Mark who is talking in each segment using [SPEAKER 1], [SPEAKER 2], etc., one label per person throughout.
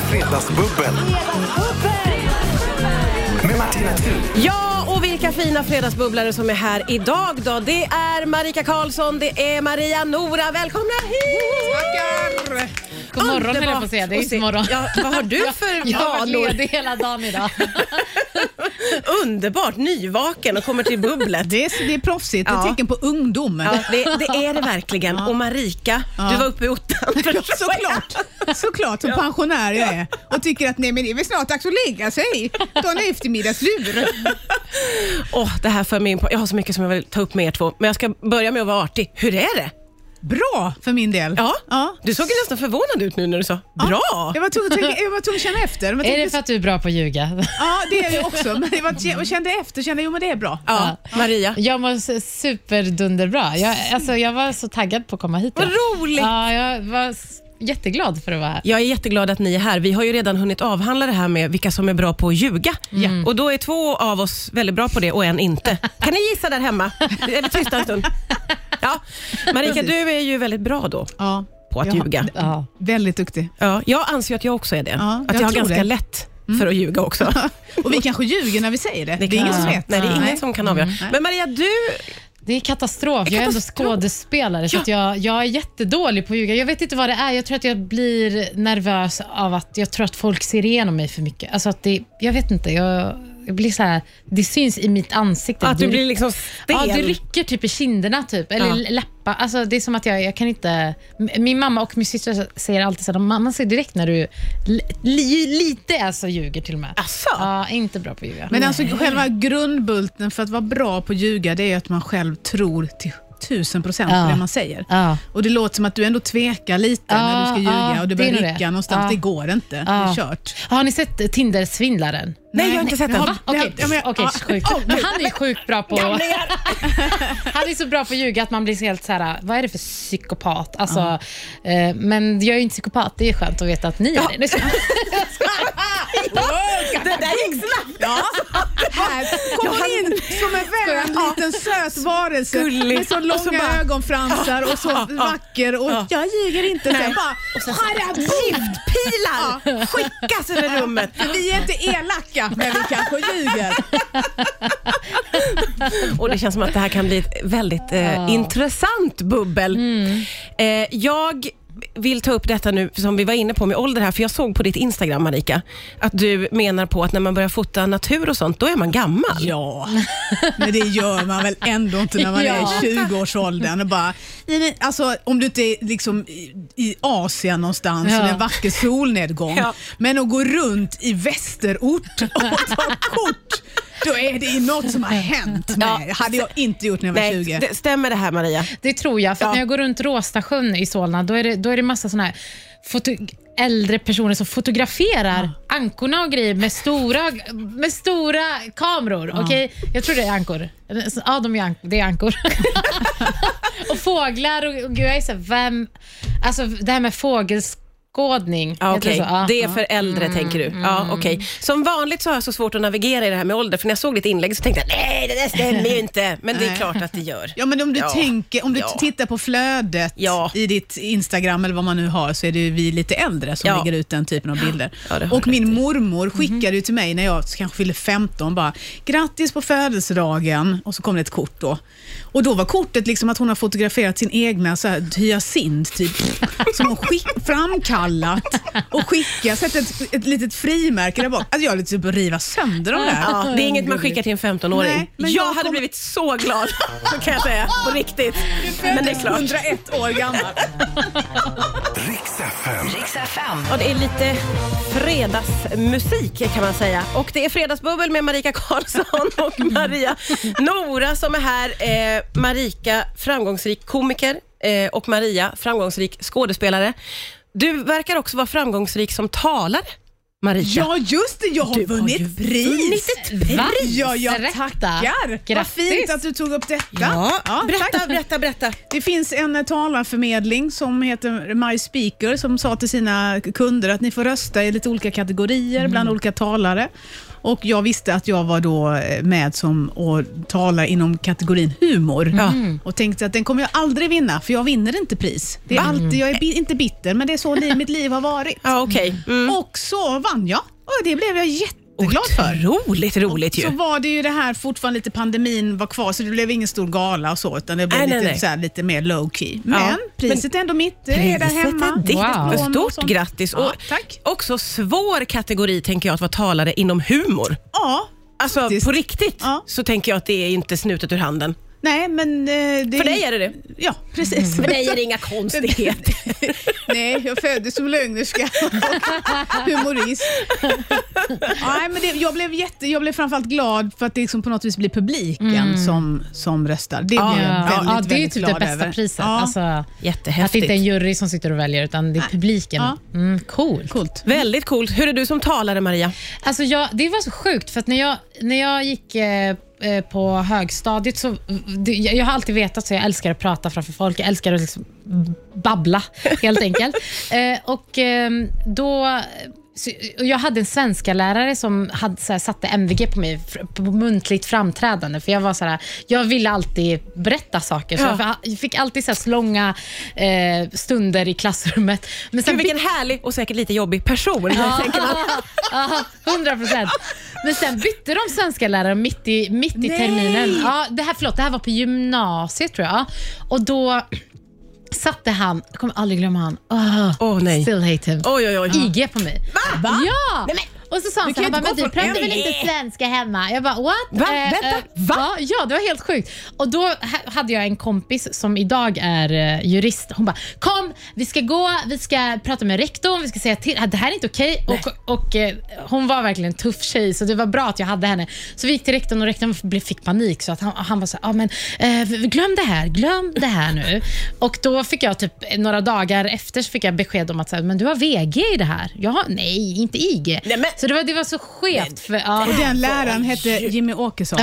[SPEAKER 1] Fredagsbubbel med Martina Thun.
[SPEAKER 2] Ja, och vilka fina fredagsbubblare som är här idag då. Det är Marika Karlsson, det är Maria Nora. Välkomna hit!
[SPEAKER 3] Tackar! God morgon höll jag på att säga. Det är
[SPEAKER 2] Underbart
[SPEAKER 3] ju morgon.
[SPEAKER 2] att se. Ja, vad har du för
[SPEAKER 3] jag, jag har varit
[SPEAKER 2] vanor?
[SPEAKER 3] ledig hela dagen idag.
[SPEAKER 2] Underbart, nyvaken och kommer till bubblet.
[SPEAKER 4] Det är, det är proffsigt,
[SPEAKER 2] Ja.
[SPEAKER 4] ett tecken på ungdom.
[SPEAKER 2] Ja, det, det är det verkligen. Och Marika, du var uppe i ottan.
[SPEAKER 4] Såklart, såklart som pensionär jag är och tycker att nej men det är väl snart dags att lägga sig, ta en eftermiddagslur.
[SPEAKER 2] Åh, det här för mig in på... Jag har så mycket som jag vill ta upp med er två, men jag ska börja med att vara artig. Hur är det?
[SPEAKER 4] Bra för min del.
[SPEAKER 2] Ja,
[SPEAKER 4] Ja.
[SPEAKER 2] du såg ju nästan förvånad ut nu när du sa bra.
[SPEAKER 4] Jag var tvungen att tänka- jag var tvungen att känna efter. Jag var
[SPEAKER 3] är
[SPEAKER 4] tvungen
[SPEAKER 3] det
[SPEAKER 4] att-
[SPEAKER 3] för att du är bra på att ljuga?
[SPEAKER 4] Ja, det är jag också. Men jag, var, jag kände efter, kände jo men det är bra.
[SPEAKER 2] Ja, Maria.
[SPEAKER 3] Jag mår s- superdunderbra. Jag, alltså, jag var så taggad på att komma hit.
[SPEAKER 2] Vad
[SPEAKER 3] ja.
[SPEAKER 2] roligt!
[SPEAKER 3] Ja, jag var s- jätteglad för att vara här.
[SPEAKER 2] Jag är jätteglad att ni är här. Vi har ju redan hunnit avhandla det här med vilka som är bra på att ljuga. Mm. Och då är två av oss väldigt bra på det och en inte. Kan ni gissa där hemma? Eller tysta en stund. Ja. Marika, du är ju väldigt bra då
[SPEAKER 4] Ja.
[SPEAKER 2] på att
[SPEAKER 4] Jag har-
[SPEAKER 2] ljuga.
[SPEAKER 3] Ja.
[SPEAKER 4] Väldigt duktig.
[SPEAKER 2] Ja, jag anser ju att jag också är det.
[SPEAKER 4] Ja,
[SPEAKER 2] att
[SPEAKER 4] jag
[SPEAKER 2] jag har
[SPEAKER 4] tror
[SPEAKER 2] ganska
[SPEAKER 4] det.
[SPEAKER 2] lätt för att ljuga också.
[SPEAKER 4] Och vi kanske ljuger när vi säger det. Det, är ingen som vet. Mm,
[SPEAKER 2] Nej, det är ingen som kan avgöra. Men Maria, du...
[SPEAKER 3] Det är katastrof.
[SPEAKER 2] Det är
[SPEAKER 3] Jag är ändå
[SPEAKER 2] katastrof.
[SPEAKER 3] skådespelare, så att jag, jag är jättedålig på att ljuga. Jag vet inte vad det är. Jag tror att jag blir nervös av att jag tror att folk ser igenom mig för mycket. Alltså att det, jag vet inte. Jag, jag blir så här, det syns i mitt ansikte.
[SPEAKER 2] Att du
[SPEAKER 3] direkt.
[SPEAKER 2] blir liksom stel.
[SPEAKER 3] Ja, det rycker typ i kinderna typ, eller
[SPEAKER 2] Ja.
[SPEAKER 3] läppar. Alltså, det är som att jag, jag kan inte... M- Min mamma och min syster säger alltid så här, mamma ser direkt när du li, li, lite alltså, ljuger till och med.
[SPEAKER 2] Asså?
[SPEAKER 3] Ja, inte bra på att ljuga.
[SPEAKER 4] Men alltså själva grundbulten för att vara bra på att ljuga, det är ju att man själv tror till tusen procent på
[SPEAKER 3] Ja.
[SPEAKER 4] det man säger.
[SPEAKER 3] Ja.
[SPEAKER 4] Och det låter som att du ändå tvekar lite när du ska
[SPEAKER 3] Ja,
[SPEAKER 4] ljuga
[SPEAKER 3] ja,
[SPEAKER 4] och du
[SPEAKER 3] det är
[SPEAKER 4] börjar
[SPEAKER 3] nog det.
[SPEAKER 4] rycka någonstans.
[SPEAKER 3] Ja.
[SPEAKER 4] Det går inte. Det är
[SPEAKER 3] Ja.
[SPEAKER 4] kört.
[SPEAKER 3] Har ni sett Tinder-svindlaren?
[SPEAKER 2] Nej, jag har inte sett den.
[SPEAKER 3] Va? Okej,
[SPEAKER 4] Ja, men-
[SPEAKER 3] okej,
[SPEAKER 4] ja.
[SPEAKER 3] sjukt. Men han är ju sjukt bra på... Han är så bra på att ljuga att man blir så helt så här, vad är det för psykopat? Alltså, eh, men jag är ju inte psykopat, det är skönt att veta att ni är det.
[SPEAKER 2] Det där gick snabbt.
[SPEAKER 4] Ja. Här kom hon in som en vän, liten söt varelse
[SPEAKER 2] Gullig.
[SPEAKER 4] med så
[SPEAKER 2] Och
[SPEAKER 4] långa
[SPEAKER 2] så bara-
[SPEAKER 4] ögonfransar och så
[SPEAKER 2] Ja, ja,
[SPEAKER 4] vacker och
[SPEAKER 2] ja.
[SPEAKER 4] jag ljuger inte. Sen bara, "Harabim!"
[SPEAKER 2] Giftpilar skickas över rummet.
[SPEAKER 4] Vi är inte elaka, men vi kanske ljuger.
[SPEAKER 2] Och det känns som att det här kan bli ett väldigt eh, intressant bubbel.
[SPEAKER 3] Mm.
[SPEAKER 2] Eh, jag vill ta upp detta nu som vi var inne på med ålder här, för jag såg på ditt Instagram Marika, att du menar på att när man börjar fota natur och sånt, då är man gammal.
[SPEAKER 4] Ja, men det gör man väl ändå inte när man
[SPEAKER 3] Ja.
[SPEAKER 4] är i 20-årsåldern. Och bara, nej, men alltså, om du inte är liksom i, i Asien någonstans
[SPEAKER 3] Ja.
[SPEAKER 4] med en vacker solnedgång,
[SPEAKER 2] Ja.
[SPEAKER 4] men att gå runt i västerort och ta kort, då är det ju något som har hänt mig. Det hade jag inte gjort när jag var
[SPEAKER 2] Nej,
[SPEAKER 4] 20.
[SPEAKER 2] det, stämmer det här Maria?
[SPEAKER 3] Det tror jag, för att
[SPEAKER 2] Ja.
[SPEAKER 3] när jag går runt Råstasjön i Solna, då är det, då är det massa såna här foto, äldre personer som fotograferar ankorna och grejer med stora, med stora kameror. Okej, jag tror det är ankor. Ja, de är ankor. Det är ankor. och fåglar och, och jag är så här, vem... Alltså det här med fågelskådning.
[SPEAKER 2] Ja,
[SPEAKER 3] Jag tror
[SPEAKER 2] okej.
[SPEAKER 3] så, ja, Mm.
[SPEAKER 2] det är
[SPEAKER 3] ja.
[SPEAKER 2] för äldre tänker du. Ja, okej. Som vanligt så har jag så svårt att navigera i det här med ålder, för när jag såg ditt inlägg så tänkte jag nej, det där stämmer ju inte. Men det är
[SPEAKER 4] Nej.
[SPEAKER 2] klart att det gör.
[SPEAKER 4] Ja, men om du,
[SPEAKER 2] Ja.
[SPEAKER 4] tänker, om du
[SPEAKER 2] Ja.
[SPEAKER 4] tittar på flödet
[SPEAKER 2] Ja.
[SPEAKER 4] i ditt Instagram eller vad man nu har, så är det ju vi lite äldre som
[SPEAKER 2] Ja.
[SPEAKER 4] lägger ut den typen av bilder.
[SPEAKER 2] Ja, det har
[SPEAKER 4] och min mormor
[SPEAKER 2] Mhm.
[SPEAKER 4] skickade ju till mig när jag kanske fyllde 15, bara “grattis på födelsedagen” och så kom det ett kort då. Och då var kortet liksom att hon har fotograferat sin egna så här, hyacint, typ, som hon skick, framkallat och skickat, sett ett, ett litet frimärke där bak. Alltså jag är lite typ att riva sönder de där.
[SPEAKER 2] Ja, det är inget man skickar till en 15-åring.
[SPEAKER 4] Nej,
[SPEAKER 2] jag,
[SPEAKER 4] men jag
[SPEAKER 2] hade
[SPEAKER 4] kommer-
[SPEAKER 2] blivit så glad, så kan jag säga. På riktigt. Men det är klart.
[SPEAKER 4] 101 år gammal.
[SPEAKER 1] Riks FM.
[SPEAKER 2] Och det är lite fredagsmusik kan man säga. Och det är Fredagsbubbel med Marika Karlsson och Maria Nora som är här. Eh, Marika, framgångsrik komiker eh, och Maria, framgångsrik skådespelare. Du verkar också vara framgångsrik som talare, Marika.
[SPEAKER 4] Ja, just det. Jag har
[SPEAKER 2] Du har
[SPEAKER 4] vunnit
[SPEAKER 2] ju
[SPEAKER 4] pris.
[SPEAKER 2] vunnit ett pris.
[SPEAKER 3] Va?
[SPEAKER 4] Ja, jag
[SPEAKER 3] Berätta.
[SPEAKER 4] tackar. Vad
[SPEAKER 3] Grattis.
[SPEAKER 4] fint att du tog upp detta.
[SPEAKER 2] Ja,
[SPEAKER 4] tack.
[SPEAKER 2] berätta, berätta, berätta.
[SPEAKER 4] Det finns en eh, talarförmedling som heter My
[SPEAKER 2] Mm.
[SPEAKER 4] Speaker som sa till sina kunder att ni får rösta i lite olika kategorier bland olika talare. Och jag visste att jag var då eh, med som och talar inom kategorin humor. Mm. Och tänkte att den kommer jag aldrig vinna, för jag vinner inte pris. Det är
[SPEAKER 2] Mm.
[SPEAKER 4] alltid, jag är bi- inte bitter, men det är så li- mitt liv har varit.
[SPEAKER 2] Ja, okej. Mm.
[SPEAKER 4] Och så vann jag. Och det blev jag jätteglad för.
[SPEAKER 2] Otroligt roligt
[SPEAKER 4] Så
[SPEAKER 2] ju.
[SPEAKER 4] var det ju det här fortfarande lite pandemin var kvar, så det blev ingen stor gala och så, utan det blev
[SPEAKER 2] Nej, nej,
[SPEAKER 4] lite,
[SPEAKER 2] nej.
[SPEAKER 4] Så här, lite mer low key. Men priset är ändå mitt, det är där
[SPEAKER 2] Priset
[SPEAKER 4] hemma.
[SPEAKER 2] är ditt.
[SPEAKER 3] Wow.
[SPEAKER 4] Diplom och
[SPEAKER 2] Stort
[SPEAKER 4] sånt.
[SPEAKER 2] grattis.
[SPEAKER 4] Ja,
[SPEAKER 2] Och
[SPEAKER 4] tack.
[SPEAKER 2] Också svår kategori tänker jag att vara talare inom humor.
[SPEAKER 4] Ja,
[SPEAKER 2] Alltså
[SPEAKER 4] Faktiskt.
[SPEAKER 2] på riktigt
[SPEAKER 4] Ja.
[SPEAKER 2] så tänker jag att det är inte snutet ur handen.
[SPEAKER 4] nej men... eh, Det
[SPEAKER 2] För dig är det det.
[SPEAKER 4] Ja, precis.
[SPEAKER 2] För dig är det inga konstigheter.
[SPEAKER 4] Nej, jag föddes som lögnerska och humorist. Nej, men det, jag, blev jätte, jag blev framförallt glad för att det liksom på något vis blir publiken som, som röstar. Det blev jag väldigt,
[SPEAKER 3] Mm. ja, det är ju
[SPEAKER 4] väldigt
[SPEAKER 3] typ det
[SPEAKER 4] glad
[SPEAKER 3] bästa
[SPEAKER 4] över.
[SPEAKER 3] priset.
[SPEAKER 4] Ja,
[SPEAKER 3] Alltså, att det
[SPEAKER 2] Jättehäftigt.
[SPEAKER 3] inte är en jury som sitter och väljer, utan det är publiken.
[SPEAKER 4] Ja.
[SPEAKER 3] Mm, coolt.
[SPEAKER 4] Coolt.
[SPEAKER 2] Väldigt coolt. Hur är du som talare Maria?
[SPEAKER 3] Alltså jag, det var så sjukt, för att när jag, när jag gick eh, eh, på högstadiet så... Det, jag jag har alltid vetat så jag älskar att prata framför folk. Jag älskar att liksom babbla, helt enkelt. eh, och eh, då... Så, och jag hade en svenska lärare som hade, så här, satte MVG på mig fr- på muntligt framträdande. För Jag var så här, jag ville alltid berätta saker, så
[SPEAKER 2] Ja.
[SPEAKER 3] jag fa- jag fick alltid så här, så långa eh, stunder i klassrummet. Men
[SPEAKER 2] Gud,
[SPEAKER 3] bytte-
[SPEAKER 2] vilken härlig och säkert lite jobbig person. tänker man.
[SPEAKER 3] Ja, 100 procent. Men sen bytte de svenska lärare mitt i, mitt i terminen. Ja, det här, förlåt, det här var på gymnasiet tror jag. Och då satte han, jag kommer aldrig glömma han, oh,
[SPEAKER 2] Åh, nej.
[SPEAKER 3] still hate him,
[SPEAKER 2] Oj, oj, oj.
[SPEAKER 3] IG på mig.
[SPEAKER 2] Va? Va?
[SPEAKER 3] Ja!
[SPEAKER 2] Nej, men-
[SPEAKER 3] Och så sa han,
[SPEAKER 4] Du
[SPEAKER 3] så
[SPEAKER 4] kan
[SPEAKER 3] här,
[SPEAKER 4] ju
[SPEAKER 3] han bara,
[SPEAKER 4] inte
[SPEAKER 3] men
[SPEAKER 4] gå
[SPEAKER 3] du
[SPEAKER 4] från
[SPEAKER 3] pratar väl
[SPEAKER 4] en-
[SPEAKER 3] inte svenska hemma? Jag bara, what?
[SPEAKER 2] E.
[SPEAKER 3] Eh,
[SPEAKER 2] Va? Vänta, va?
[SPEAKER 3] Ja, ja, det var helt sjukt. Och då ha- hade jag en kompis som idag är eh, jurist. Hon bara, kom, vi ska gå, vi ska prata med rektorn, vi ska säga till. Det här är inte okej. Och, och, eh, hon var verkligen en tuff tjej, så det var bra att jag hade henne. Så vi gick till rektorn och rektorn blev- fick panik. Så att han, han var så här, ah, men, eh, v- glöm det här, glöm det här nu. Och då fick jag typ eh, några dagar efter så fick jag besked om att så här, men du har VG i det här. Jag har, nej, inte IG.
[SPEAKER 2] Nej, men-
[SPEAKER 3] så det var, det var så skevt. För, ja.
[SPEAKER 4] Och den läraren hette Jimmy Åkesson.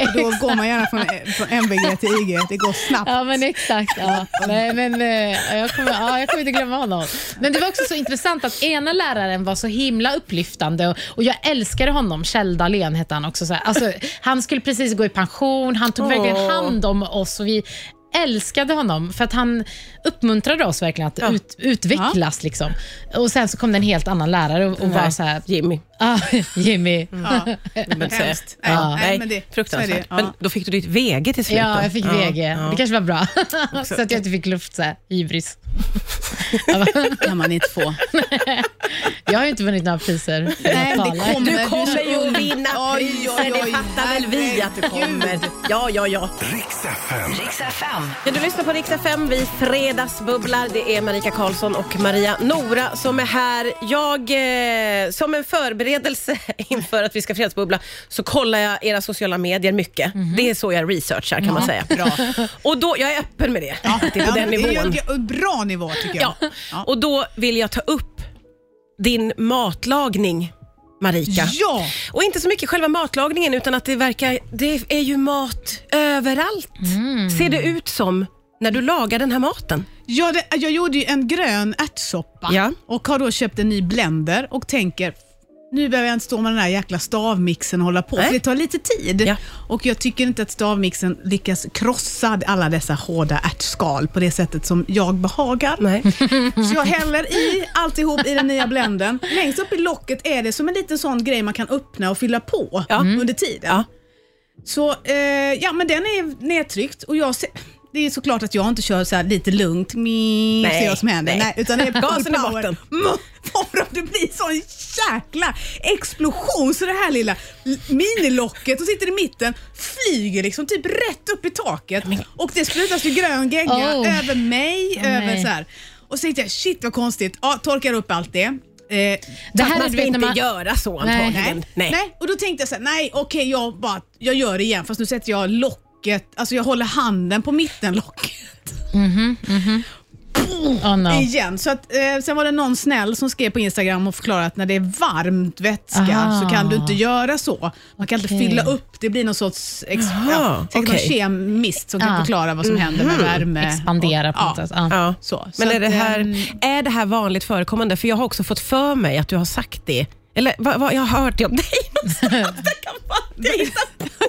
[SPEAKER 4] Och då går man gärna från, från MVG till IG, det går snabbt.
[SPEAKER 3] Ja men exakt. Ja. Nej, men, eh, jag, kommer, ja, jag kommer inte glömma honom. Men det var också så intressant att ena läraren var så himla upplyftande och, och jag älskade honom. Kjell Dahlén hette han också. Så här. Alltså, han skulle precis gå i pension, han tog verkligen
[SPEAKER 2] Åh.
[SPEAKER 3] hand om oss och vi älskade honom för att han uppmuntrade oss verkligen att ut, utvecklas. Liksom. Och Sen så kom det en helt annan lärare och, och var så här,
[SPEAKER 2] Jimmy.
[SPEAKER 3] ah, Jimmy.
[SPEAKER 4] Ja.
[SPEAKER 2] Men så-
[SPEAKER 4] Hemskt. Nej,
[SPEAKER 2] Ja.
[SPEAKER 4] nej, men det-
[SPEAKER 2] fruktansvärt.
[SPEAKER 4] så är det, ja.
[SPEAKER 2] Men då fick du ditt VG till slut
[SPEAKER 3] Ja,
[SPEAKER 2] då.
[SPEAKER 3] jag fick VG. Det kanske var bra. så att jag inte fick luft så här, hybris.
[SPEAKER 4] kan man inte få.
[SPEAKER 3] Jag har ju inte vunnit några priser. för
[SPEAKER 4] Nej,
[SPEAKER 3] något
[SPEAKER 4] det
[SPEAKER 3] tal.
[SPEAKER 4] kommer.
[SPEAKER 2] Du kommer ju att vinna
[SPEAKER 4] Oj, oj,
[SPEAKER 2] priser, det
[SPEAKER 4] oj,
[SPEAKER 2] fattar väl vi att du kommer. Ja, ja, ja.
[SPEAKER 1] Riks FM.
[SPEAKER 5] Riks FM.
[SPEAKER 2] Ja, du lyssnar på Rix FM, vi fredagsbubblar. Det är Marika Karlsson och Maria Nora som är här. Jag, eh, som en förberedelse inför att vi ska fredagsbubbla, så kollar jag era sociala medier mycket.
[SPEAKER 4] Mhm.
[SPEAKER 2] Det är så jag researchar kan man säga. Bra. Och då, jag är öppen med det. det är på den
[SPEAKER 4] men det är
[SPEAKER 2] nivån.
[SPEAKER 4] ju en bra nivå tycker jag.
[SPEAKER 2] Ja. Och då vill jag ta upp din matlagning, Marika.
[SPEAKER 4] Ja.
[SPEAKER 2] Och inte så mycket själva matlagningen utan att det verkar, det är ju mat överallt.
[SPEAKER 4] Mm.
[SPEAKER 2] Ser det ut som när du lagar den här maten.
[SPEAKER 4] Ja, det, jag gjorde ju en grön ärtsoppa
[SPEAKER 2] Ja.
[SPEAKER 4] och har då köpt en ny blender och tänker nu behöver jag inte stå med den här jäkla stavmixen och hålla på,
[SPEAKER 2] Nej.
[SPEAKER 4] för det tar lite tid.
[SPEAKER 2] Ja.
[SPEAKER 4] Och jag tycker inte att stavmixen lyckas krossa alla dessa hårda ärtskal på det sättet som jag behagar.
[SPEAKER 2] Nej.
[SPEAKER 4] Så jag häller i alltihop i den nya blenden. Längst upp i locket är det som en liten sån grej man kan öppna och fylla på
[SPEAKER 2] Ja. Mm.
[SPEAKER 4] under tiden.
[SPEAKER 2] Ja.
[SPEAKER 4] Så eh, ja, men den är nedtryckt och jag ser, det är såklart att jag inte kör så här lite lugnt, meh,
[SPEAKER 2] Nej,
[SPEAKER 4] ser vad som händer.
[SPEAKER 2] nej.
[SPEAKER 4] Nej. utan det är full
[SPEAKER 2] Gasen i
[SPEAKER 4] power.
[SPEAKER 2] botten.
[SPEAKER 4] Mm, Bara om det blir sån jäkla explosion så det här lilla l- minilocket som sitter i mitten flyger liksom typ rätt upp i taket och det sprutas ju grön gegga
[SPEAKER 3] Oh.
[SPEAKER 4] över mig, över
[SPEAKER 3] nej.
[SPEAKER 4] så här. Och så tänkte jag, shit vad konstigt. Ja, torkar upp allt det. Eh,
[SPEAKER 3] Det här är,
[SPEAKER 2] Man ska
[SPEAKER 3] du vet, när
[SPEAKER 2] inte
[SPEAKER 3] man,
[SPEAKER 2] göra så
[SPEAKER 3] Nej.
[SPEAKER 2] antagligen. Nej.
[SPEAKER 4] Nej. och då tänkte jag så här, nej okej jag, bara, jag gör det igen fast nu sätter jag locket, alltså jag håller handen på mittenlocket.
[SPEAKER 3] Oh, no.
[SPEAKER 4] Igen. Så att, eh, sen var det någon snäll som skrev på Instagram och förklarade att när det är varmt vätska
[SPEAKER 3] Aha.
[SPEAKER 4] så kan du inte göra så. Man kan inte
[SPEAKER 3] Ah. Okej.
[SPEAKER 4] fylla upp, det blir någon sorts ex-
[SPEAKER 2] Aha,
[SPEAKER 4] ja, säkert någon
[SPEAKER 2] okej.
[SPEAKER 4] kemist som
[SPEAKER 3] Ah. Mm.
[SPEAKER 4] kan förklara vad som händer med värme.
[SPEAKER 3] Expandera
[SPEAKER 4] och,
[SPEAKER 3] på något
[SPEAKER 4] ja.
[SPEAKER 3] sätt. Ah. Ja.
[SPEAKER 2] Ja.
[SPEAKER 4] Så,
[SPEAKER 2] Men
[SPEAKER 4] så
[SPEAKER 2] är, det
[SPEAKER 4] att,
[SPEAKER 2] här,
[SPEAKER 4] ehm,
[SPEAKER 2] är det här vanligt förekommande? För jag har också fått för mig att du har sagt det. Eller vad, vad, jag har hört det om dig någonstans. Det kan vara dig.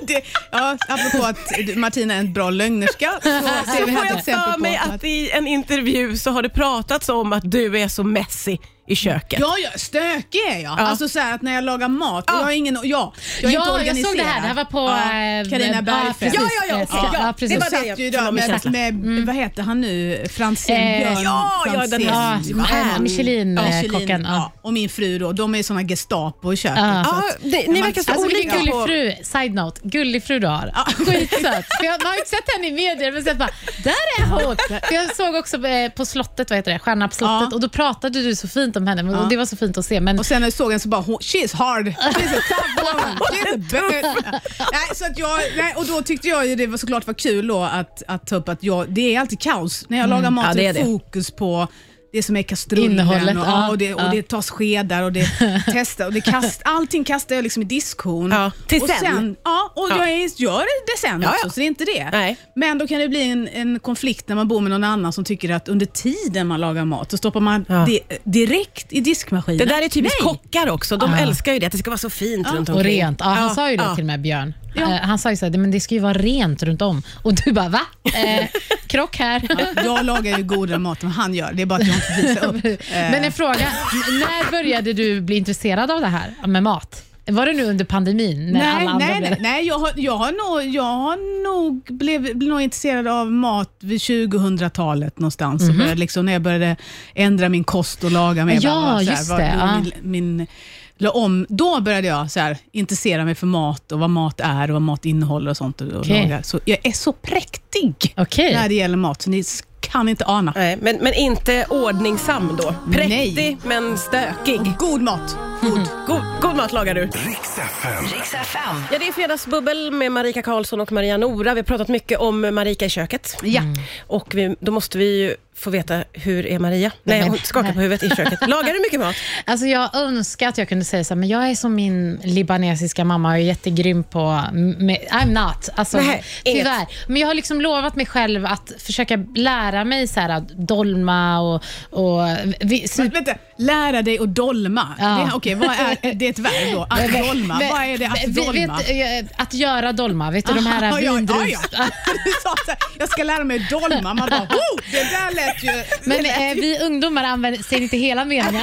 [SPEAKER 4] Det, ja, apropå att du- Martina är en bra lögnerska så ser
[SPEAKER 2] Så
[SPEAKER 4] vi
[SPEAKER 2] får
[SPEAKER 4] här ett
[SPEAKER 2] jag för
[SPEAKER 4] exempel
[SPEAKER 2] mig
[SPEAKER 4] på
[SPEAKER 2] att i en intervju så har det pratats om att du är så messy i köket.
[SPEAKER 4] Ja, ja, stökig är jag. Alltså så här att när jag lagar mat, och jag är ingen, ja, jag är inte
[SPEAKER 3] Ja, jag
[SPEAKER 4] organiserad.
[SPEAKER 3] såg det här. Det här var på... eh,
[SPEAKER 4] Carina
[SPEAKER 3] ja,
[SPEAKER 4] Bergfeldt.
[SPEAKER 3] precis.
[SPEAKER 2] Ja, ja, ja, okej, ja.
[SPEAKER 3] ja,
[SPEAKER 2] Det
[SPEAKER 3] precis.
[SPEAKER 2] var
[SPEAKER 4] Satt ju
[SPEAKER 2] jag-
[SPEAKER 4] där med,
[SPEAKER 2] Känsla.
[SPEAKER 4] med vad heter han nu, Franzén?
[SPEAKER 3] Mm. Eh,
[SPEAKER 4] Björn
[SPEAKER 2] ja, ja, den
[SPEAKER 4] Franzén.
[SPEAKER 2] här-
[SPEAKER 3] Ja,
[SPEAKER 2] Stjärn-
[SPEAKER 4] Ja,
[SPEAKER 3] eh, Michelin-kocken.
[SPEAKER 4] Kjellin, ja.
[SPEAKER 3] Ja.
[SPEAKER 4] Och min fru då, de är såna Gestapo i köket.
[SPEAKER 3] Ja.
[SPEAKER 4] så
[SPEAKER 2] Ja,
[SPEAKER 4] att-
[SPEAKER 2] ni, ni
[SPEAKER 4] man-
[SPEAKER 2] verkar så
[SPEAKER 3] Alltså vilken
[SPEAKER 2] olika
[SPEAKER 3] gullig
[SPEAKER 2] på...
[SPEAKER 3] fru, side note, gullig fru du har. Skitsöt. För jag, man har ju inte sett henne i medier men sen bara, där är hon. För jag såg också eh, på slottet, vad heter det, Stjärna på slottet
[SPEAKER 4] Ja.
[SPEAKER 3] och då pratade du så fint om henne men, och det var så fint att se. Men,
[SPEAKER 4] Och sen när jag såg henne så bara, hon, she is hard. She is a tough woman. She is a bad. nej, så att jag, nej, och då tyckte jag ju det var såklart var kul då att, att ta upp att jag, det är alltid kaos. När jag lagar mat
[SPEAKER 2] Mm. Ja,
[SPEAKER 4] så
[SPEAKER 2] det
[SPEAKER 4] är
[SPEAKER 2] är
[SPEAKER 4] det
[SPEAKER 2] det.
[SPEAKER 4] fokus på det som är kastrullen
[SPEAKER 3] Innehållet,
[SPEAKER 4] och,
[SPEAKER 3] ja,
[SPEAKER 4] och, det, och
[SPEAKER 3] ja.
[SPEAKER 4] det tas skedar och det testar och det kast, allting kastar jag liksom i diskhon.
[SPEAKER 2] Ja, till
[SPEAKER 4] och
[SPEAKER 2] sen.
[SPEAKER 4] Ja, och
[SPEAKER 2] Ja.
[SPEAKER 4] jag är, gör det sen
[SPEAKER 2] Ja,
[SPEAKER 4] också
[SPEAKER 2] ja.
[SPEAKER 4] så det är inte det.
[SPEAKER 2] Nej.
[SPEAKER 4] Men då kan det bli en, en konflikt när man bor med någon annan som tycker att under tiden man lagar mat så stoppar man
[SPEAKER 2] Ja.
[SPEAKER 4] det direkt i diskmaskinen.
[SPEAKER 2] Det där är typiskt
[SPEAKER 4] Nej.
[SPEAKER 2] kockar också. De
[SPEAKER 3] Ja.
[SPEAKER 2] älskar ju det, att det ska vara så fint runt
[SPEAKER 3] Ah. och
[SPEAKER 2] omkring.
[SPEAKER 3] rent. Ja, han
[SPEAKER 2] Ja,
[SPEAKER 3] sa ju det
[SPEAKER 2] ja.
[SPEAKER 3] till och med Björn.
[SPEAKER 4] Ja.
[SPEAKER 3] Eh, han sa ju så här, men det ska ju vara rent runt om. Och du bara, va? Eh, krock här.
[SPEAKER 4] Jag lagar ju godare mat än han gör. Det är bara att jag inte visar upp. Eh,
[SPEAKER 3] Men en fråga, när började du bli intresserad av det här med mat? Var det nu under pandemin? När alla
[SPEAKER 4] nej,
[SPEAKER 3] andra
[SPEAKER 4] nej,
[SPEAKER 3] blev
[SPEAKER 4] nej, nej, jag har, jag har nog, jag har nog blev, blev nog intresserad av mat vid 2000-talet någonstans. Så började liksom, när jag började ändra min kost och laga mer.
[SPEAKER 3] Mhm. Ja,
[SPEAKER 4] bara, bara så här,
[SPEAKER 3] just
[SPEAKER 4] vad-
[SPEAKER 3] det, ja.
[SPEAKER 4] Min, min, la om, då började jag så här, intressera mig för mat och vad mat är och vad mat innehåller och sånt. Och, och
[SPEAKER 3] Okej.
[SPEAKER 4] laga. Så jag är så präktig
[SPEAKER 3] Okej.
[SPEAKER 4] när det gäller mat, så ni kan inte ana.
[SPEAKER 2] Nej, men, men inte ordningsam då. Präktig
[SPEAKER 4] Nej.
[SPEAKER 2] men
[SPEAKER 3] Mm.
[SPEAKER 2] stökig.
[SPEAKER 4] God mat. God.
[SPEAKER 2] God, god mat lagar du.
[SPEAKER 1] Riks FM.
[SPEAKER 5] Riks FM.
[SPEAKER 2] Ja, det är Fredagsbubbel med Marika Karlsson och Maria Nora. Vi har pratat mycket om Marika i köket.
[SPEAKER 4] Ja.
[SPEAKER 3] Mm.
[SPEAKER 2] Och vi, då måste vi ju få veta, hur är Maria? Nej,
[SPEAKER 3] men-
[SPEAKER 2] hon skakar på huvudet i köket. Lagar du mycket mat?
[SPEAKER 3] Alltså jag önskar att jag kunde säga så här, men jag är som min libanesiska mamma och är jättegrym på... Med, I'm not. Alltså,
[SPEAKER 2] Nej, inget.
[SPEAKER 3] tyvärr. Men jag har liksom lovat mig själv att försöka lära mig så här, att dolma och... och vi,
[SPEAKER 4] Men Vänta, typ lära dig att dolma.
[SPEAKER 3] Ja.
[SPEAKER 4] Det, okej, vad är, det är ett verb då, att dolma.
[SPEAKER 3] Men-
[SPEAKER 4] vad är det
[SPEAKER 3] vi-
[SPEAKER 4] att dolma?
[SPEAKER 3] Vet, eh, att göra dolma, vet du de här
[SPEAKER 4] Aha, ja, ja,
[SPEAKER 3] vindrus...
[SPEAKER 4] ja. Du sa så här, jag ska lära mig dolma. Man bara, oh, det där lät ju...
[SPEAKER 3] Men eh, vi ungdomar använder, säger inte hela meningen.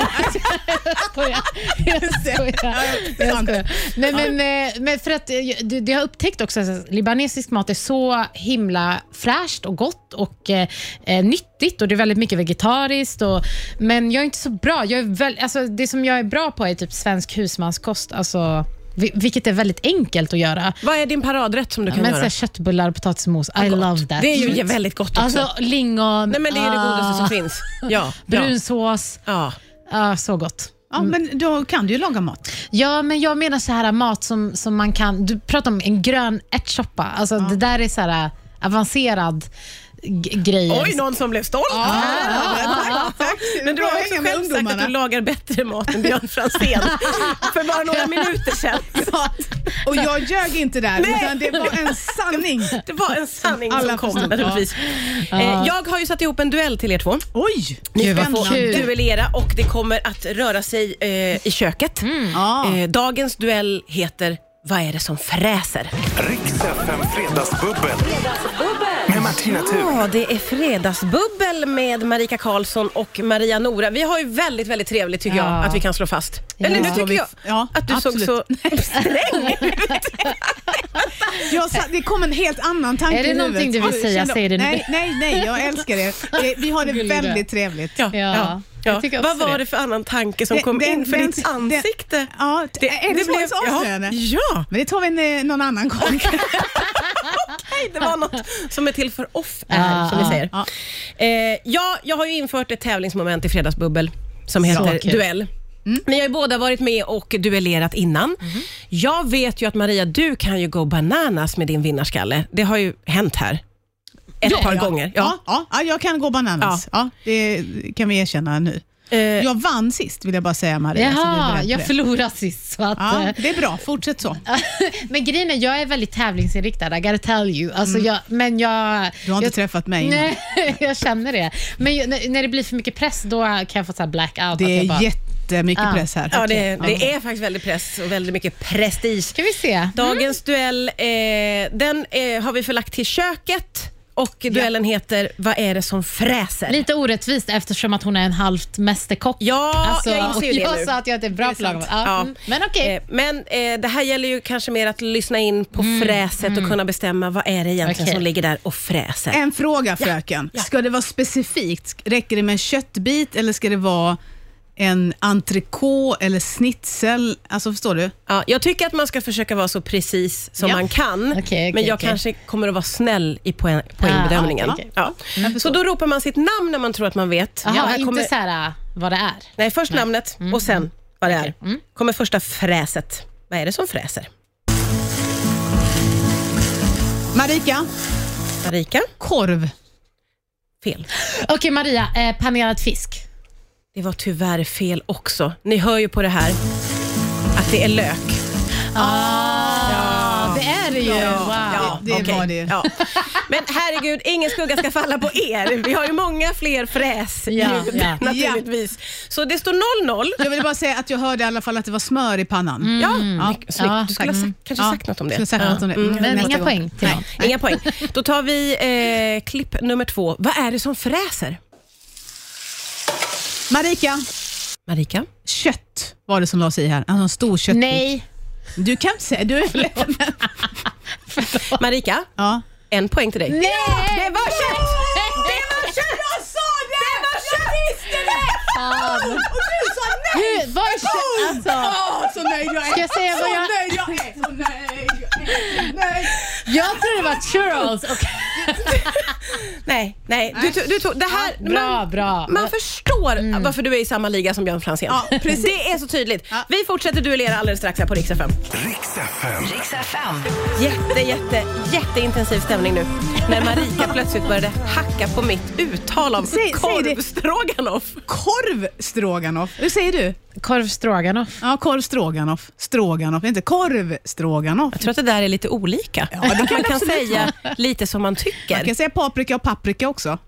[SPEAKER 3] jag skojar. Jag skojar. Jag
[SPEAKER 4] sant.
[SPEAKER 3] skojar. Nej, men, eh, men för att eh, jag- det, det har upptäckt också att libanesisk mat är så himla fräscht och gott och eh, eh, nyttigt och det är väldigt mycket vegetariskt. Och, men jag är inte så bra. Jag är väl, alltså, det som jag är bra på är typ svensk husmanskost. Alltså, vi- vilket är väldigt enkelt att göra.
[SPEAKER 2] Vad är din paradrätt som du kan
[SPEAKER 3] Men så
[SPEAKER 2] göra?
[SPEAKER 3] här, köttbullar och potatismos, I love that.
[SPEAKER 2] Det är ju väldigt gott också.
[SPEAKER 3] Alltså lingon,
[SPEAKER 2] Nej, men det är det godaste som
[SPEAKER 3] ah,
[SPEAKER 2] finns. Ja, ja.
[SPEAKER 3] brunsås.
[SPEAKER 2] ja.
[SPEAKER 3] Ja, så gott.
[SPEAKER 4] Ja, men då kan du ju laga mat.
[SPEAKER 3] Ja, men jag menar så här äh, mat som, som man kan... Du pratar om en grön ärtsoppa. Alltså, Det där är så här äh, avancerad g- grej.
[SPEAKER 2] Oj, någon som blev stolt.
[SPEAKER 3] Ah.
[SPEAKER 2] Men du har också själv sagt att du lagar bättre mat än Björn Franzén för bara några minuter sedan.
[SPEAKER 4] Och jag ljög inte där,
[SPEAKER 2] Nej.
[SPEAKER 4] utan det var en sanning.
[SPEAKER 2] Det var en sanning
[SPEAKER 4] Alla
[SPEAKER 2] som kom
[SPEAKER 4] förstod, ja.
[SPEAKER 2] naturligtvis. Eh, jag har ju satt ihop en duell till er två.
[SPEAKER 4] Oj,
[SPEAKER 3] Gud, vad
[SPEAKER 4] spännande.
[SPEAKER 3] kul.
[SPEAKER 2] Duellera och det kommer att röra sig eh, i köket.
[SPEAKER 4] Ja.
[SPEAKER 2] Eh, dagens duell heter Vad är det som fräser?
[SPEAKER 1] Riks FM Fredagsbubbel. Med Martina Thun.
[SPEAKER 2] Ja, det är fredagsbubbel med Marika Karlsson och Maria Nora. Vi har ju väldigt, väldigt trevligt tycker jag
[SPEAKER 3] Ja.
[SPEAKER 2] att vi kan slå fast.
[SPEAKER 3] Ja.
[SPEAKER 2] Eller nu
[SPEAKER 3] Ja,
[SPEAKER 2] tycker
[SPEAKER 4] vi-
[SPEAKER 2] jag
[SPEAKER 4] ja,
[SPEAKER 2] att du
[SPEAKER 4] absolut.
[SPEAKER 2] såg så sträng
[SPEAKER 4] Jag sa, det kom en helt annan tanke
[SPEAKER 3] Är det
[SPEAKER 4] i huvudet.
[SPEAKER 3] någonting du vill
[SPEAKER 4] Oj,
[SPEAKER 3] säga?
[SPEAKER 4] kände-
[SPEAKER 3] Säg det nu.
[SPEAKER 4] Nej, nej, nej, jag älskar det. Eh, Vi har det
[SPEAKER 3] Gullig du är.
[SPEAKER 4] väldigt trevligt.
[SPEAKER 2] Ja,
[SPEAKER 3] Ja,
[SPEAKER 2] ja.
[SPEAKER 3] jag
[SPEAKER 2] ja.
[SPEAKER 3] tycker också
[SPEAKER 2] Vad var det.
[SPEAKER 3] det.
[SPEAKER 2] för annan tanke som
[SPEAKER 4] Den-
[SPEAKER 2] kom
[SPEAKER 4] den-
[SPEAKER 2] in för
[SPEAKER 4] den-
[SPEAKER 2] ditt
[SPEAKER 4] den-
[SPEAKER 2] ansikte?
[SPEAKER 4] Ja, det, är det, så blev,
[SPEAKER 2] ja,
[SPEAKER 4] avslöjande?
[SPEAKER 2] ja,
[SPEAKER 4] Men det tar vi en, eh, någon annan gång.
[SPEAKER 2] nej, det var något som är till för off
[SPEAKER 3] Ja,
[SPEAKER 2] air, som vi
[SPEAKER 3] ja,
[SPEAKER 2] säger.
[SPEAKER 4] ja.
[SPEAKER 2] Eh, ja, jag har ju infört ett tävlingsmoment i Fredagsbubbel som heter
[SPEAKER 3] kul.
[SPEAKER 2] duell.
[SPEAKER 4] Mm.
[SPEAKER 2] Vi har ju båda varit med och duellerat innan.
[SPEAKER 4] Mhm.
[SPEAKER 2] Jag vet ju att Maria, du kan ju gå bananas med din vinnarskalle. Det har ju hänt här. ett par gånger. Ja.
[SPEAKER 4] Ja. Ja, ja, jag kan gå bananas. Ja. det kan vi erkänna nu.
[SPEAKER 2] Eh,
[SPEAKER 4] Jag vann sist vill jag bara säga Maria.
[SPEAKER 2] Alltså,
[SPEAKER 4] så vi är beredda
[SPEAKER 3] Jaha,
[SPEAKER 4] på
[SPEAKER 3] jag
[SPEAKER 4] det.
[SPEAKER 3] förlorade sist. Så att,
[SPEAKER 4] Ja,
[SPEAKER 3] eh,
[SPEAKER 4] det är bra, fortsätt så.
[SPEAKER 3] men grejen är, jag är väldigt tävlingsinriktad, I gotta tell you. Alltså, jag, men jag...
[SPEAKER 4] Du har inte
[SPEAKER 3] jag,
[SPEAKER 4] träffat mig innan.
[SPEAKER 3] Nej, jag känner det. Men ju- när, när det blir för mycket press, då kan jag få så här blackout. att
[SPEAKER 4] Det
[SPEAKER 3] jag
[SPEAKER 4] är
[SPEAKER 3] bara,
[SPEAKER 4] jättemycket
[SPEAKER 3] Ah.
[SPEAKER 4] press här.
[SPEAKER 2] ja, det,
[SPEAKER 4] Okej.
[SPEAKER 2] det är faktiskt väldigt press och väldigt mycket prestige.
[SPEAKER 3] ska vi se.
[SPEAKER 2] Dagens duell, eh, den eh, har vi förlagt till köket och duellen heter Vad är det som fräser?
[SPEAKER 3] Lite orättvist eftersom att hon är en halvt mästerkock.
[SPEAKER 2] Ja, jag
[SPEAKER 3] och
[SPEAKER 2] inser ju det
[SPEAKER 3] Alltså, jag
[SPEAKER 2] nu.
[SPEAKER 3] sa att jag inte är bra på lagat. Ja,
[SPEAKER 2] Ja.
[SPEAKER 3] mm. Men okej.
[SPEAKER 2] Eh, Men eh, det här gäller ju kanske mer att lyssna in på fräset och kunna bestämma vad är det egentligen
[SPEAKER 3] Mm. Okej.
[SPEAKER 2] som ligger där och fräser.
[SPEAKER 4] En fråga fröken.
[SPEAKER 2] ja.
[SPEAKER 4] Ska det vara specifikt? Räcker det med en köttbit eller ska det vara en entrecote eller schnitzel? Alltså förstår du?
[SPEAKER 2] Ja, jag tycker att man ska försöka vara så precis som
[SPEAKER 4] Ja.
[SPEAKER 2] man kan,
[SPEAKER 3] Okej, okej,
[SPEAKER 2] men jag
[SPEAKER 3] okej. Ah,
[SPEAKER 2] kanske kommer att vara snäll i poäng, poängbedömningen.
[SPEAKER 3] okej, okej.
[SPEAKER 2] Ja. Så då ropar man sitt namn när man tror att man vet.
[SPEAKER 3] Jaha,
[SPEAKER 2] Ja, här
[SPEAKER 3] inte
[SPEAKER 2] kommer-
[SPEAKER 3] så här äh, vad det är.
[SPEAKER 2] Nej, först namnet
[SPEAKER 4] Mm,
[SPEAKER 2] och sen vad det är. Kommer första fräset. Vad är det som fräser?
[SPEAKER 4] Marika,
[SPEAKER 2] Marika?
[SPEAKER 4] korv.
[SPEAKER 2] Fel.
[SPEAKER 3] Okej Maria, eh, panerad fisk.
[SPEAKER 2] Det var tyvärr fel också. Ni hör ju på det här att det är lök.
[SPEAKER 3] Ja, det är det ju. wow.
[SPEAKER 2] Ja,
[SPEAKER 4] Det- det
[SPEAKER 2] okej.
[SPEAKER 4] var det.
[SPEAKER 2] Ja. Men herregud, ingen skugga ska falla på er. Vi har ju många fler fräs
[SPEAKER 3] Ja, ja.
[SPEAKER 2] naturligtvis. Så det står 0-0.
[SPEAKER 4] Jag vill bara säga att jag hörde i alla fall att det var smör i pannan.
[SPEAKER 3] Mm.
[SPEAKER 2] Ja,
[SPEAKER 4] Mm. Ja,
[SPEAKER 2] mycket snyggt.
[SPEAKER 3] ja,
[SPEAKER 2] du skulle ha sagt, kanske sagt något om det.
[SPEAKER 4] Skulle sagt något om det. Mm,
[SPEAKER 3] Men
[SPEAKER 4] nästa
[SPEAKER 3] inga
[SPEAKER 4] gång.
[SPEAKER 3] poäng till
[SPEAKER 4] Nej.
[SPEAKER 3] någon.
[SPEAKER 2] Ja. Inga poäng. Då tar vi eh, klipp nummer två. Vad är det som fräser?
[SPEAKER 4] Marika,
[SPEAKER 2] Marika?
[SPEAKER 4] kött var det som lades i här. Alltså en stor köttbit.
[SPEAKER 3] Nej.
[SPEAKER 4] Du kan säga, du Oh.
[SPEAKER 2] Marika,
[SPEAKER 4] Ja.
[SPEAKER 2] en poäng till dig.
[SPEAKER 3] Nej!
[SPEAKER 2] Det var kött!
[SPEAKER 3] Det var
[SPEAKER 2] kött! Jag sa det! Det var kött! Jag visste det!
[SPEAKER 3] Fan.
[SPEAKER 4] Och du sa nej!
[SPEAKER 3] Hur, var kö- alltså,
[SPEAKER 4] Åh, så nöjd jag är.
[SPEAKER 3] Ska jag säga vad jag-
[SPEAKER 4] nöjd jag är. Så nöjd jag är. Så nöjd.
[SPEAKER 3] jag trodde det var churros. Och,
[SPEAKER 2] Nej, nej. Du, tog- du tog, det här,
[SPEAKER 3] bra,
[SPEAKER 2] man,
[SPEAKER 3] bra.
[SPEAKER 2] man förstår varför du är i samma liga som Björn Franzén.
[SPEAKER 4] Ja, precis.
[SPEAKER 2] Det är så tydligt.
[SPEAKER 4] Ja.
[SPEAKER 2] Vi fortsätter duellera alldeles strax här på Rix FM.
[SPEAKER 1] Riks FM.
[SPEAKER 2] Jätte, jätte, jätteintensiv stämning nu. När Marika plötsligt började hacka på mitt uttal av
[SPEAKER 4] Säg- säg det.
[SPEAKER 2] korvstroganoff.
[SPEAKER 4] Korv stroganoff. Hur säger du?
[SPEAKER 3] korv stroganoff.
[SPEAKER 4] Ja, korv stroganoff. Stroganoff, inte korv stroganoff.
[SPEAKER 2] Jag tror att det där är lite olika. att man kan säga lite som man tycker.
[SPEAKER 4] Jag kan säga paprika och paprika också.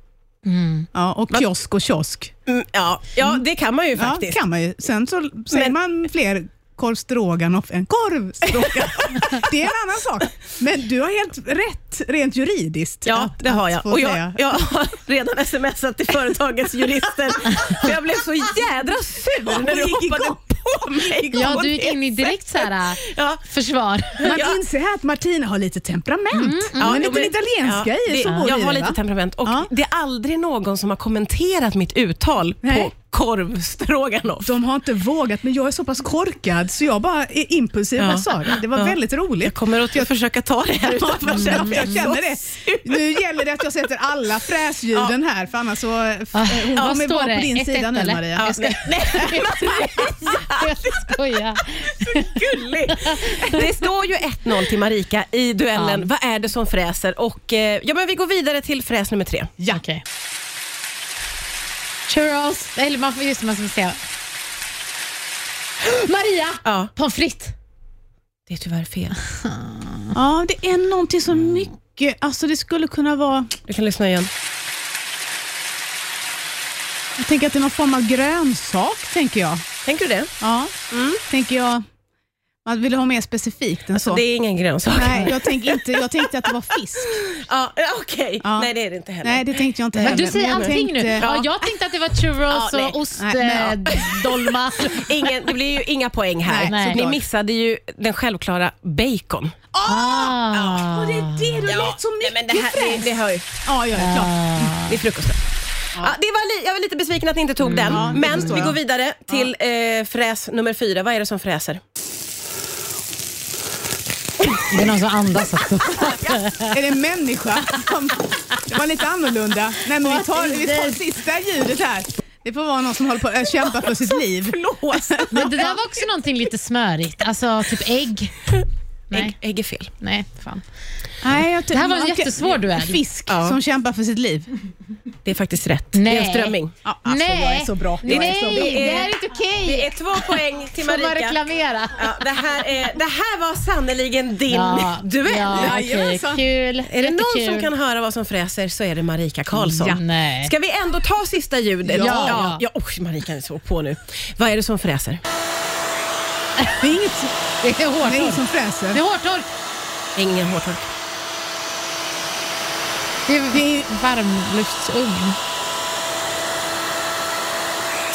[SPEAKER 3] Mm.
[SPEAKER 4] Ja, och kiosk och kiosk.
[SPEAKER 2] Mm, ja, ja, det kan man ju
[SPEAKER 4] Ja,
[SPEAKER 2] faktiskt.
[SPEAKER 4] kan man ju. Sen så säger
[SPEAKER 2] Men-
[SPEAKER 4] man fler korv stroganoff än korv stroganoff. det är en annan sak. Men du har helt rätt rent juridiskt.
[SPEAKER 2] Ja,
[SPEAKER 4] att-
[SPEAKER 2] det har jag.
[SPEAKER 4] få
[SPEAKER 2] Och jag,
[SPEAKER 4] säga.
[SPEAKER 2] jag har redan smsat till företagets jurister. För jag blev så jädra sur när du
[SPEAKER 4] Gick
[SPEAKER 2] hoppade
[SPEAKER 4] igång.
[SPEAKER 2] på mig.
[SPEAKER 3] Ja,
[SPEAKER 2] på
[SPEAKER 3] du gick
[SPEAKER 2] det
[SPEAKER 3] in i direkt så här äh,
[SPEAKER 2] sättet. Ja,
[SPEAKER 3] försvar.
[SPEAKER 4] Man
[SPEAKER 2] Ja.
[SPEAKER 4] inser här att Martina har lite temperament. Hon är
[SPEAKER 2] Mm, jo,
[SPEAKER 4] lite
[SPEAKER 2] men-
[SPEAKER 4] italienska
[SPEAKER 2] ja,
[SPEAKER 4] i det, så
[SPEAKER 2] det,
[SPEAKER 4] går
[SPEAKER 2] Jag
[SPEAKER 4] vi
[SPEAKER 2] har
[SPEAKER 4] det,
[SPEAKER 2] lite
[SPEAKER 4] va?
[SPEAKER 2] temperament och
[SPEAKER 4] Ja.
[SPEAKER 2] det är aldrig någon som har kommenterat mitt uttal på
[SPEAKER 4] Nej.
[SPEAKER 2] korvstroganoff.
[SPEAKER 4] De har inte vågat, men jag är så pass korkad så jag bara är impulsiv
[SPEAKER 2] Ja.
[SPEAKER 4] jag sa det. Det var
[SPEAKER 2] Ja.
[SPEAKER 4] väldigt roligt.
[SPEAKER 2] Jag kommer att försöka ta det här
[SPEAKER 4] Ja,
[SPEAKER 2] utanför
[SPEAKER 4] jag känner- jag
[SPEAKER 2] skärmen.
[SPEAKER 4] känner det. Nu gäller det att jag sätter alla fräsljuden här, för annars så... f-
[SPEAKER 3] Ah,
[SPEAKER 4] Hon
[SPEAKER 3] vad
[SPEAKER 4] kommer
[SPEAKER 3] står
[SPEAKER 4] vara
[SPEAKER 3] det?
[SPEAKER 4] på din
[SPEAKER 3] Ett,
[SPEAKER 4] sida
[SPEAKER 3] ett,
[SPEAKER 4] nu,
[SPEAKER 3] eller?
[SPEAKER 4] Maria.
[SPEAKER 2] Ja,
[SPEAKER 4] Jag ska-
[SPEAKER 2] nej, nej,
[SPEAKER 3] Jag skojar.
[SPEAKER 2] gullig. Det står ju 1-0 till Marika i duellen
[SPEAKER 3] Ja.
[SPEAKER 2] Vad är det som fräser? Och, eh, ja, men vi går vidare till fräs nummer tre.
[SPEAKER 3] Ja. Okej. Churros. Eller man får just det, man ska säga. Maria!
[SPEAKER 2] Ja.
[SPEAKER 3] Pommes frites.
[SPEAKER 2] Det är tyvärr fel.
[SPEAKER 4] Ja, det är någonting så
[SPEAKER 3] Mm.
[SPEAKER 4] mycket. Alltså det skulle kunna vara...
[SPEAKER 2] Du kan lyssna igen.
[SPEAKER 4] Jag tänker att det är någon form av grönsak, tänker jag.
[SPEAKER 2] Tänker du det?
[SPEAKER 4] Ja,
[SPEAKER 3] Mm.
[SPEAKER 4] tänker jag. Man vill ha mer specifikt
[SPEAKER 3] Alltså,
[SPEAKER 4] än så.
[SPEAKER 2] Alltså, Det är ingen grönsak.
[SPEAKER 4] Nej, jag, tänk inte, jag tänkte att det var fisk.
[SPEAKER 2] Ja, eh, Okej,
[SPEAKER 4] Ja.
[SPEAKER 2] nej det är det inte heller.
[SPEAKER 4] Nej, det tänkte jag inte
[SPEAKER 3] Men
[SPEAKER 4] heller.
[SPEAKER 3] du säger
[SPEAKER 4] jag
[SPEAKER 3] allting nu.
[SPEAKER 4] tänkte-
[SPEAKER 3] Ja, jag tänkte att det var churros
[SPEAKER 2] Ja, nej.
[SPEAKER 3] och eh,
[SPEAKER 4] Nej, nej,
[SPEAKER 3] ostdolma.
[SPEAKER 2] Ingen, det blir ju inga poäng här.
[SPEAKER 4] Nej,
[SPEAKER 3] Nej.
[SPEAKER 2] Så ni
[SPEAKER 4] såklart.
[SPEAKER 2] missade ju den självklara bacon.
[SPEAKER 3] Ah.
[SPEAKER 4] Och det är det, du lät så
[SPEAKER 2] nej,
[SPEAKER 4] mycket
[SPEAKER 2] men det, här, det, det, hör ju,
[SPEAKER 4] Ja, ja, det är klart.
[SPEAKER 2] det är frukosten. Ja. det var li, jag var lite besviken att ni inte tog den,
[SPEAKER 4] Ja, det
[SPEAKER 2] men
[SPEAKER 4] förstår
[SPEAKER 2] vi
[SPEAKER 4] jag.
[SPEAKER 2] går vidare till eh, fräs nummer fyra. Vad är det som fräser?
[SPEAKER 3] Det är någon som andas också. Ah.
[SPEAKER 4] Är det en människa? som- Det var lite annorlunda. Nej, men vi tar, vi tar sista ljudet här. Det får vara någon som håller på att kämpa för sitt liv.
[SPEAKER 2] Blås!
[SPEAKER 3] Men det där var också någonting lite smörigt. Alltså typ ägg. Nej.
[SPEAKER 2] Ägg, ägg är fel.
[SPEAKER 3] Nej, fan.
[SPEAKER 4] Nej, jag ty-
[SPEAKER 3] Det här var en
[SPEAKER 4] man kan-
[SPEAKER 3] jättesvår duell.
[SPEAKER 4] Fisk
[SPEAKER 2] Ja.
[SPEAKER 4] som kämpar för sitt liv.
[SPEAKER 2] Det är faktiskt rätt.
[SPEAKER 3] Nej.
[SPEAKER 2] Det är en strömming.
[SPEAKER 4] Ja, alltså,
[SPEAKER 3] Nej.
[SPEAKER 4] jag är så bra. Jag är
[SPEAKER 3] Nej,
[SPEAKER 4] så bra.
[SPEAKER 3] det här är inte okej.
[SPEAKER 2] Det är två poäng till
[SPEAKER 3] Får man
[SPEAKER 2] Marika.
[SPEAKER 3] reklamera?
[SPEAKER 2] Ja, det, här är, det här var sannerligen din duell.
[SPEAKER 3] Ja, okej.
[SPEAKER 4] Jajamensan.
[SPEAKER 3] Kul.
[SPEAKER 2] Är det någon som kan höra vad som fräser så är det Marika Karlsson.
[SPEAKER 3] Ja. Nej.
[SPEAKER 2] Ska vi ändå ta sista ljudet?
[SPEAKER 3] Ja.
[SPEAKER 2] ja, ja. Oj, Marika är så på nu. Vad är det som fräser?
[SPEAKER 4] Det är inget
[SPEAKER 3] Det är
[SPEAKER 4] det är ingen
[SPEAKER 3] hårtork.
[SPEAKER 4] som
[SPEAKER 3] Det är
[SPEAKER 4] fräser.
[SPEAKER 3] hårtork.
[SPEAKER 2] Ingen hårtork.
[SPEAKER 3] Det är varmluftsugn.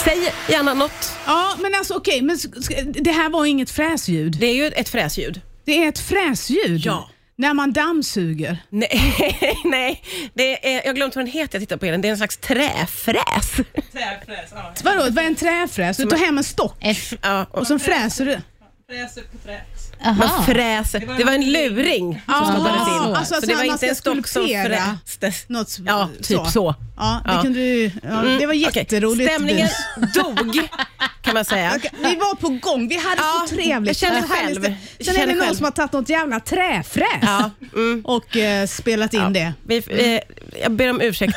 [SPEAKER 2] Säg gärna något.
[SPEAKER 4] Ja, men alltså okej, men sk- sk- det här var inget fräsljud.
[SPEAKER 2] Det är ju ett fräsljud.
[SPEAKER 4] Det är ett fräsljud.
[SPEAKER 2] Ja.
[SPEAKER 4] När man dammsuger.
[SPEAKER 2] Nej, nej. Det är, jag har glömt vad den heter. Jag tittar på den. Det är en slags träfräs.
[SPEAKER 5] Träfräs, ja.
[SPEAKER 4] Vadå, vad är en träfräs? Du tar hem en stock
[SPEAKER 3] F-
[SPEAKER 2] Ja, och
[SPEAKER 4] och så fräser du.
[SPEAKER 5] Fräser på träs.
[SPEAKER 2] man
[SPEAKER 3] Aha.
[SPEAKER 2] fräser. Det var en luring som stoppades in.
[SPEAKER 3] så.
[SPEAKER 4] alltså,
[SPEAKER 2] Så det var
[SPEAKER 4] man
[SPEAKER 2] inte
[SPEAKER 4] ska
[SPEAKER 2] en stock som
[SPEAKER 4] skulptera
[SPEAKER 2] frästes.
[SPEAKER 4] Något s-
[SPEAKER 2] Ja, typ så.
[SPEAKER 4] Ja, det,
[SPEAKER 2] Ja.
[SPEAKER 4] Kunde du, ja, det var
[SPEAKER 2] Mm, okej.
[SPEAKER 4] jätteroligt.
[SPEAKER 2] Stämningen
[SPEAKER 4] bus.
[SPEAKER 2] dog, kan man säga.
[SPEAKER 4] Okej, vi var på gång, vi hade
[SPEAKER 2] Ja,
[SPEAKER 4] så trevligt.
[SPEAKER 2] jag känner
[SPEAKER 4] Så härligt.
[SPEAKER 2] själv. Jag
[SPEAKER 4] Sen är det
[SPEAKER 2] känner
[SPEAKER 4] någon
[SPEAKER 2] själv.
[SPEAKER 4] som har tagit något jävla träfräs
[SPEAKER 2] Ja, mm.
[SPEAKER 4] och eh, spelat in det.
[SPEAKER 2] Vi, eh, jag ber om ursäkt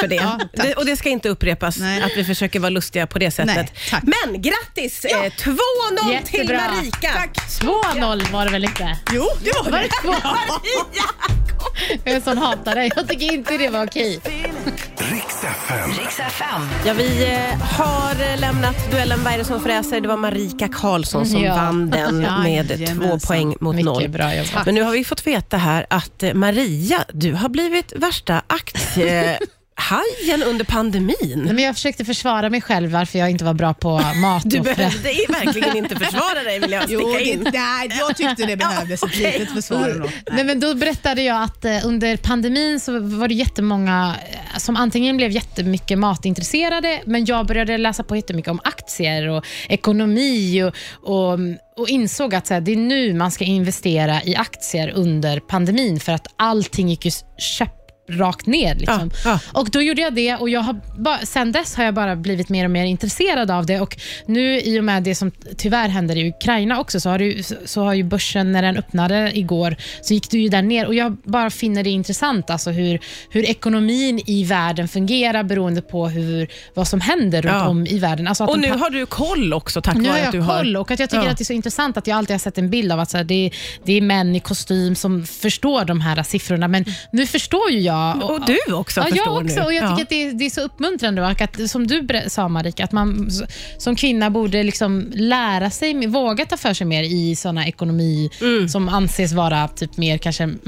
[SPEAKER 2] för det. det. Och det ska inte upprepas
[SPEAKER 4] Nej.
[SPEAKER 2] att vi försöker vara lustiga på det sättet.
[SPEAKER 4] Nej, tack.
[SPEAKER 2] Men grattis! Eh, 2-0 till
[SPEAKER 3] Jättebra.
[SPEAKER 2] Marika.
[SPEAKER 3] 2-0 var det väl inte?
[SPEAKER 4] Jo, det var
[SPEAKER 3] Var
[SPEAKER 4] det.
[SPEAKER 3] det 2-0? Jag är sån hatar dig. Jag tycker inte det var okej.
[SPEAKER 1] Riks FM.
[SPEAKER 2] Ja, vi eh, har lämnat duellen Vad är det som fräser? Det var Marika Karlsson som
[SPEAKER 3] Mm, Ja.
[SPEAKER 2] vann den
[SPEAKER 4] Ja,
[SPEAKER 2] med två
[SPEAKER 4] jajamensan.
[SPEAKER 2] poäng mot
[SPEAKER 3] Mycket
[SPEAKER 2] noll.
[SPEAKER 3] bra jobbat.
[SPEAKER 2] Men nu har vi fått veta här att eh, Maria, du har blivit värsta aktiehajen under pandemin.
[SPEAKER 3] Nej, men jag försökte försvara mig själv varför jag inte var bra på mat.
[SPEAKER 2] Du
[SPEAKER 3] och frä-
[SPEAKER 2] behövde i- verkligen inte försvara dig vill jag sticka
[SPEAKER 4] Jo,
[SPEAKER 2] in.
[SPEAKER 4] det, nej, jag tyckte det behövdes ett
[SPEAKER 2] okej.
[SPEAKER 4] litet försvar ändå.
[SPEAKER 3] Nej, men då berättade jag att eh, under pandemin så var det jättemånga eh, som antingen blev jättemycket matintresserade, men jag började läsa på jättemycket om aktier och ekonomi och, och, och insåg att så här, det är nu man ska investera i aktier under pandemin för att allting gick ju s- köp rakt ner. Liksom.
[SPEAKER 2] Ja,
[SPEAKER 3] Och Då gjorde jag det och jag har ba- sen dess har jag bara blivit mer och mer intresserad av det. Och nu i och med det som tyvärr händer i Ukraina också, så har, det ju, så- så har ju börsen, när den öppnade igår, så gick det ju där ner. Och Jag bara finner det intressant alltså hur, hur ekonomin i världen fungerar beroende på hur, vad som händer runt
[SPEAKER 2] Ja.
[SPEAKER 3] om i världen. Alltså att
[SPEAKER 2] Och
[SPEAKER 3] de
[SPEAKER 2] nu
[SPEAKER 3] pa-
[SPEAKER 2] har du koll också tack
[SPEAKER 3] nu har
[SPEAKER 2] vare
[SPEAKER 3] jag
[SPEAKER 2] att du
[SPEAKER 3] koll
[SPEAKER 2] har...
[SPEAKER 3] och att jag tycker
[SPEAKER 2] Ja.
[SPEAKER 3] att det är så intressant att jag alltid har sett en bild av att så här, det, är, det är män i kostym som förstår de här siffrorna, men nu förstår ju jag.
[SPEAKER 2] Mm. Och du också
[SPEAKER 3] Ja,
[SPEAKER 2] förstår
[SPEAKER 3] jag också.
[SPEAKER 2] nu.
[SPEAKER 3] Och jag tycker
[SPEAKER 2] Ja.
[SPEAKER 3] att det är, det är så uppmuntrande och att, som du ber- sa Marika, att man s- som kvinna borde liksom lära sig, våga ta för sig mer i såna ekonomi
[SPEAKER 2] Mm.
[SPEAKER 3] som anses vara typ mer kanske m-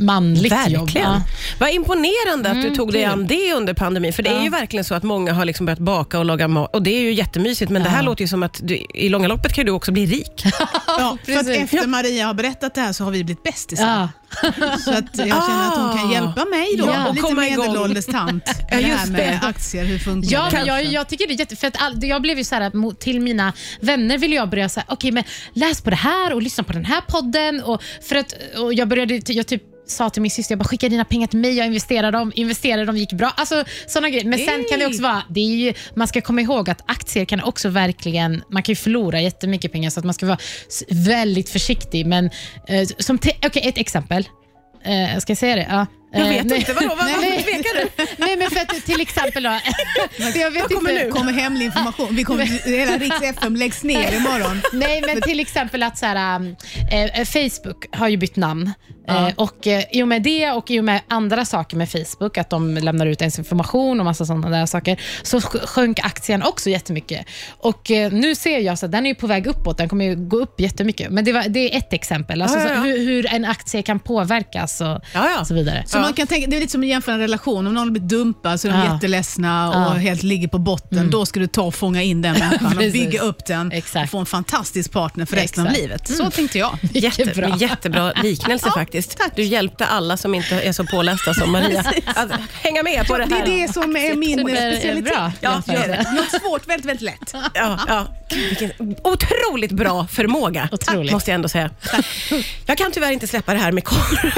[SPEAKER 3] manligt jobb.
[SPEAKER 2] Verkligen.
[SPEAKER 3] Ja.
[SPEAKER 2] Vad imponerande att du tog dig an det under pandemin. För det är ju verkligen så att många har liksom börjat baka och laga mat och det är ju jättemysigt. Men det här låter ju som att du, i långa loppet kan du också bli rik.
[SPEAKER 4] Ja, för att
[SPEAKER 3] precis.
[SPEAKER 4] efter Maria har berättat det här så har vi blivit bästisar.
[SPEAKER 3] Ja.
[SPEAKER 4] Så att jag känner att hon kan
[SPEAKER 2] Ah.
[SPEAKER 4] hjälpa mig då,
[SPEAKER 3] Ja. Och
[SPEAKER 4] lite
[SPEAKER 2] komma igång.
[SPEAKER 4] medelålders tant.
[SPEAKER 2] Ja,
[SPEAKER 4] det
[SPEAKER 2] just
[SPEAKER 4] här med
[SPEAKER 2] det.
[SPEAKER 4] aktier, hur funkar
[SPEAKER 3] Ja,
[SPEAKER 4] det?
[SPEAKER 3] men jag, jag tycker det är jätte... För att all, jag blev ju så här, att mot- till mina vänner ville jag börja säga, okej men läs på det här och lyssna på den här podden. Och för att, och jag började, ty- jag typ sa till min syster, jag bara skicka dina pengar till mig, jag investerar dem, investerar dem gick bra. Alltså sådana grejer. Men sen kan det också vara, det är ju, man ska komma ihåg att aktier kan också verkligen, man kan ju förlora jättemycket pengar så att man ska vara s- väldigt försiktig. Men eh, som, te- okej ett exempel. Eh, ska jag säga det? Ja.
[SPEAKER 2] Jag
[SPEAKER 3] Eh,
[SPEAKER 2] vet
[SPEAKER 3] nej.
[SPEAKER 2] inte, vadå? Vad-
[SPEAKER 3] Nej,
[SPEAKER 2] varför
[SPEAKER 3] men-
[SPEAKER 2] tvekar du?
[SPEAKER 3] Nej, men för att till exempel då. jag vet
[SPEAKER 2] kommer
[SPEAKER 3] inte.
[SPEAKER 2] nu?
[SPEAKER 4] kommer hemlig information. Vi kommer, hela Riks FM läggs ner imorgon.
[SPEAKER 3] Nej, men till exempel att så här, ähm, eh, Facebook har ju bytt namn. Eh, och eh, I och med det och i och med andra saker med Facebook, att de lämnar ut ens information och massa sådana där saker, så sj- sjönk aktien också jättemycket. Och eh, Nu ser jag så att den är ju på väg uppåt, den kommer ju gå upp jättemycket. Men det, var, det är ett exempel, alltså,
[SPEAKER 2] Ja, ja, ja.
[SPEAKER 3] Så hur, hur en aktie kan påverkas och
[SPEAKER 2] Ja, ja.
[SPEAKER 3] så vidare.
[SPEAKER 4] Så
[SPEAKER 2] Ja.
[SPEAKER 4] man kan tänka, det är lite som att jämföra en relation. Om någon blir dumpad så är de
[SPEAKER 3] Ja.
[SPEAKER 4] jätteledsna och
[SPEAKER 3] Ja. Mm.
[SPEAKER 4] helt ligger på botten. Då ska du ta och fånga in den människan och
[SPEAKER 3] Precis.
[SPEAKER 4] bygga upp den och
[SPEAKER 3] Exakt.
[SPEAKER 4] få en fantastisk partner för resten
[SPEAKER 3] Exakt. Mm.
[SPEAKER 4] av livet. Så tänkte jag.
[SPEAKER 3] Jättebra.
[SPEAKER 2] Jätte, jättebra liknelse faktiskt. Du hjälpte alla som inte är så pålästa som Maria att hänga med på det här.
[SPEAKER 4] Det är det som är min
[SPEAKER 3] Super-
[SPEAKER 4] specialitet.
[SPEAKER 3] bra
[SPEAKER 4] ja,
[SPEAKER 3] jämförelse.
[SPEAKER 4] gör det. Något svårt, väldigt, väldigt lätt.
[SPEAKER 2] Ja, ja. Gud, vilken otroligt bra förmåga,
[SPEAKER 3] Otroligt.
[SPEAKER 2] måste jag ändå säga. Jag kan tyvärr inte släppa det här med korvfrågan.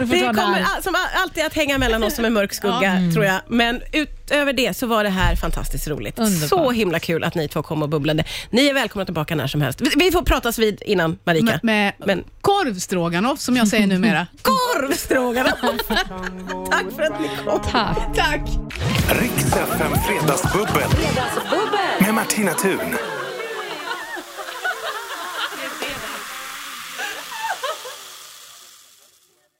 [SPEAKER 3] Då får
[SPEAKER 2] Det
[SPEAKER 3] ta det
[SPEAKER 2] kommer
[SPEAKER 3] här.
[SPEAKER 2] all, som all- alltid att hänga mellan oss som en mörk skugga,
[SPEAKER 3] Mm.
[SPEAKER 2] tror jag. Men utöver det så var det här fantastiskt roligt.
[SPEAKER 3] Underbart.
[SPEAKER 2] Så himla kul att ni två kom och bubblade. Ni är välkomna tillbaka när som helst. Vi- Vi får pratas vid innan, Marika.
[SPEAKER 4] Med, med
[SPEAKER 2] Men-
[SPEAKER 4] korvstroganoff, som jag säger numera.
[SPEAKER 2] Korvstroganoff! Tack för att ni kom.
[SPEAKER 3] Tack.
[SPEAKER 4] Tack!
[SPEAKER 1] Riks FM Fredagsbubbel. Med Martina Thun.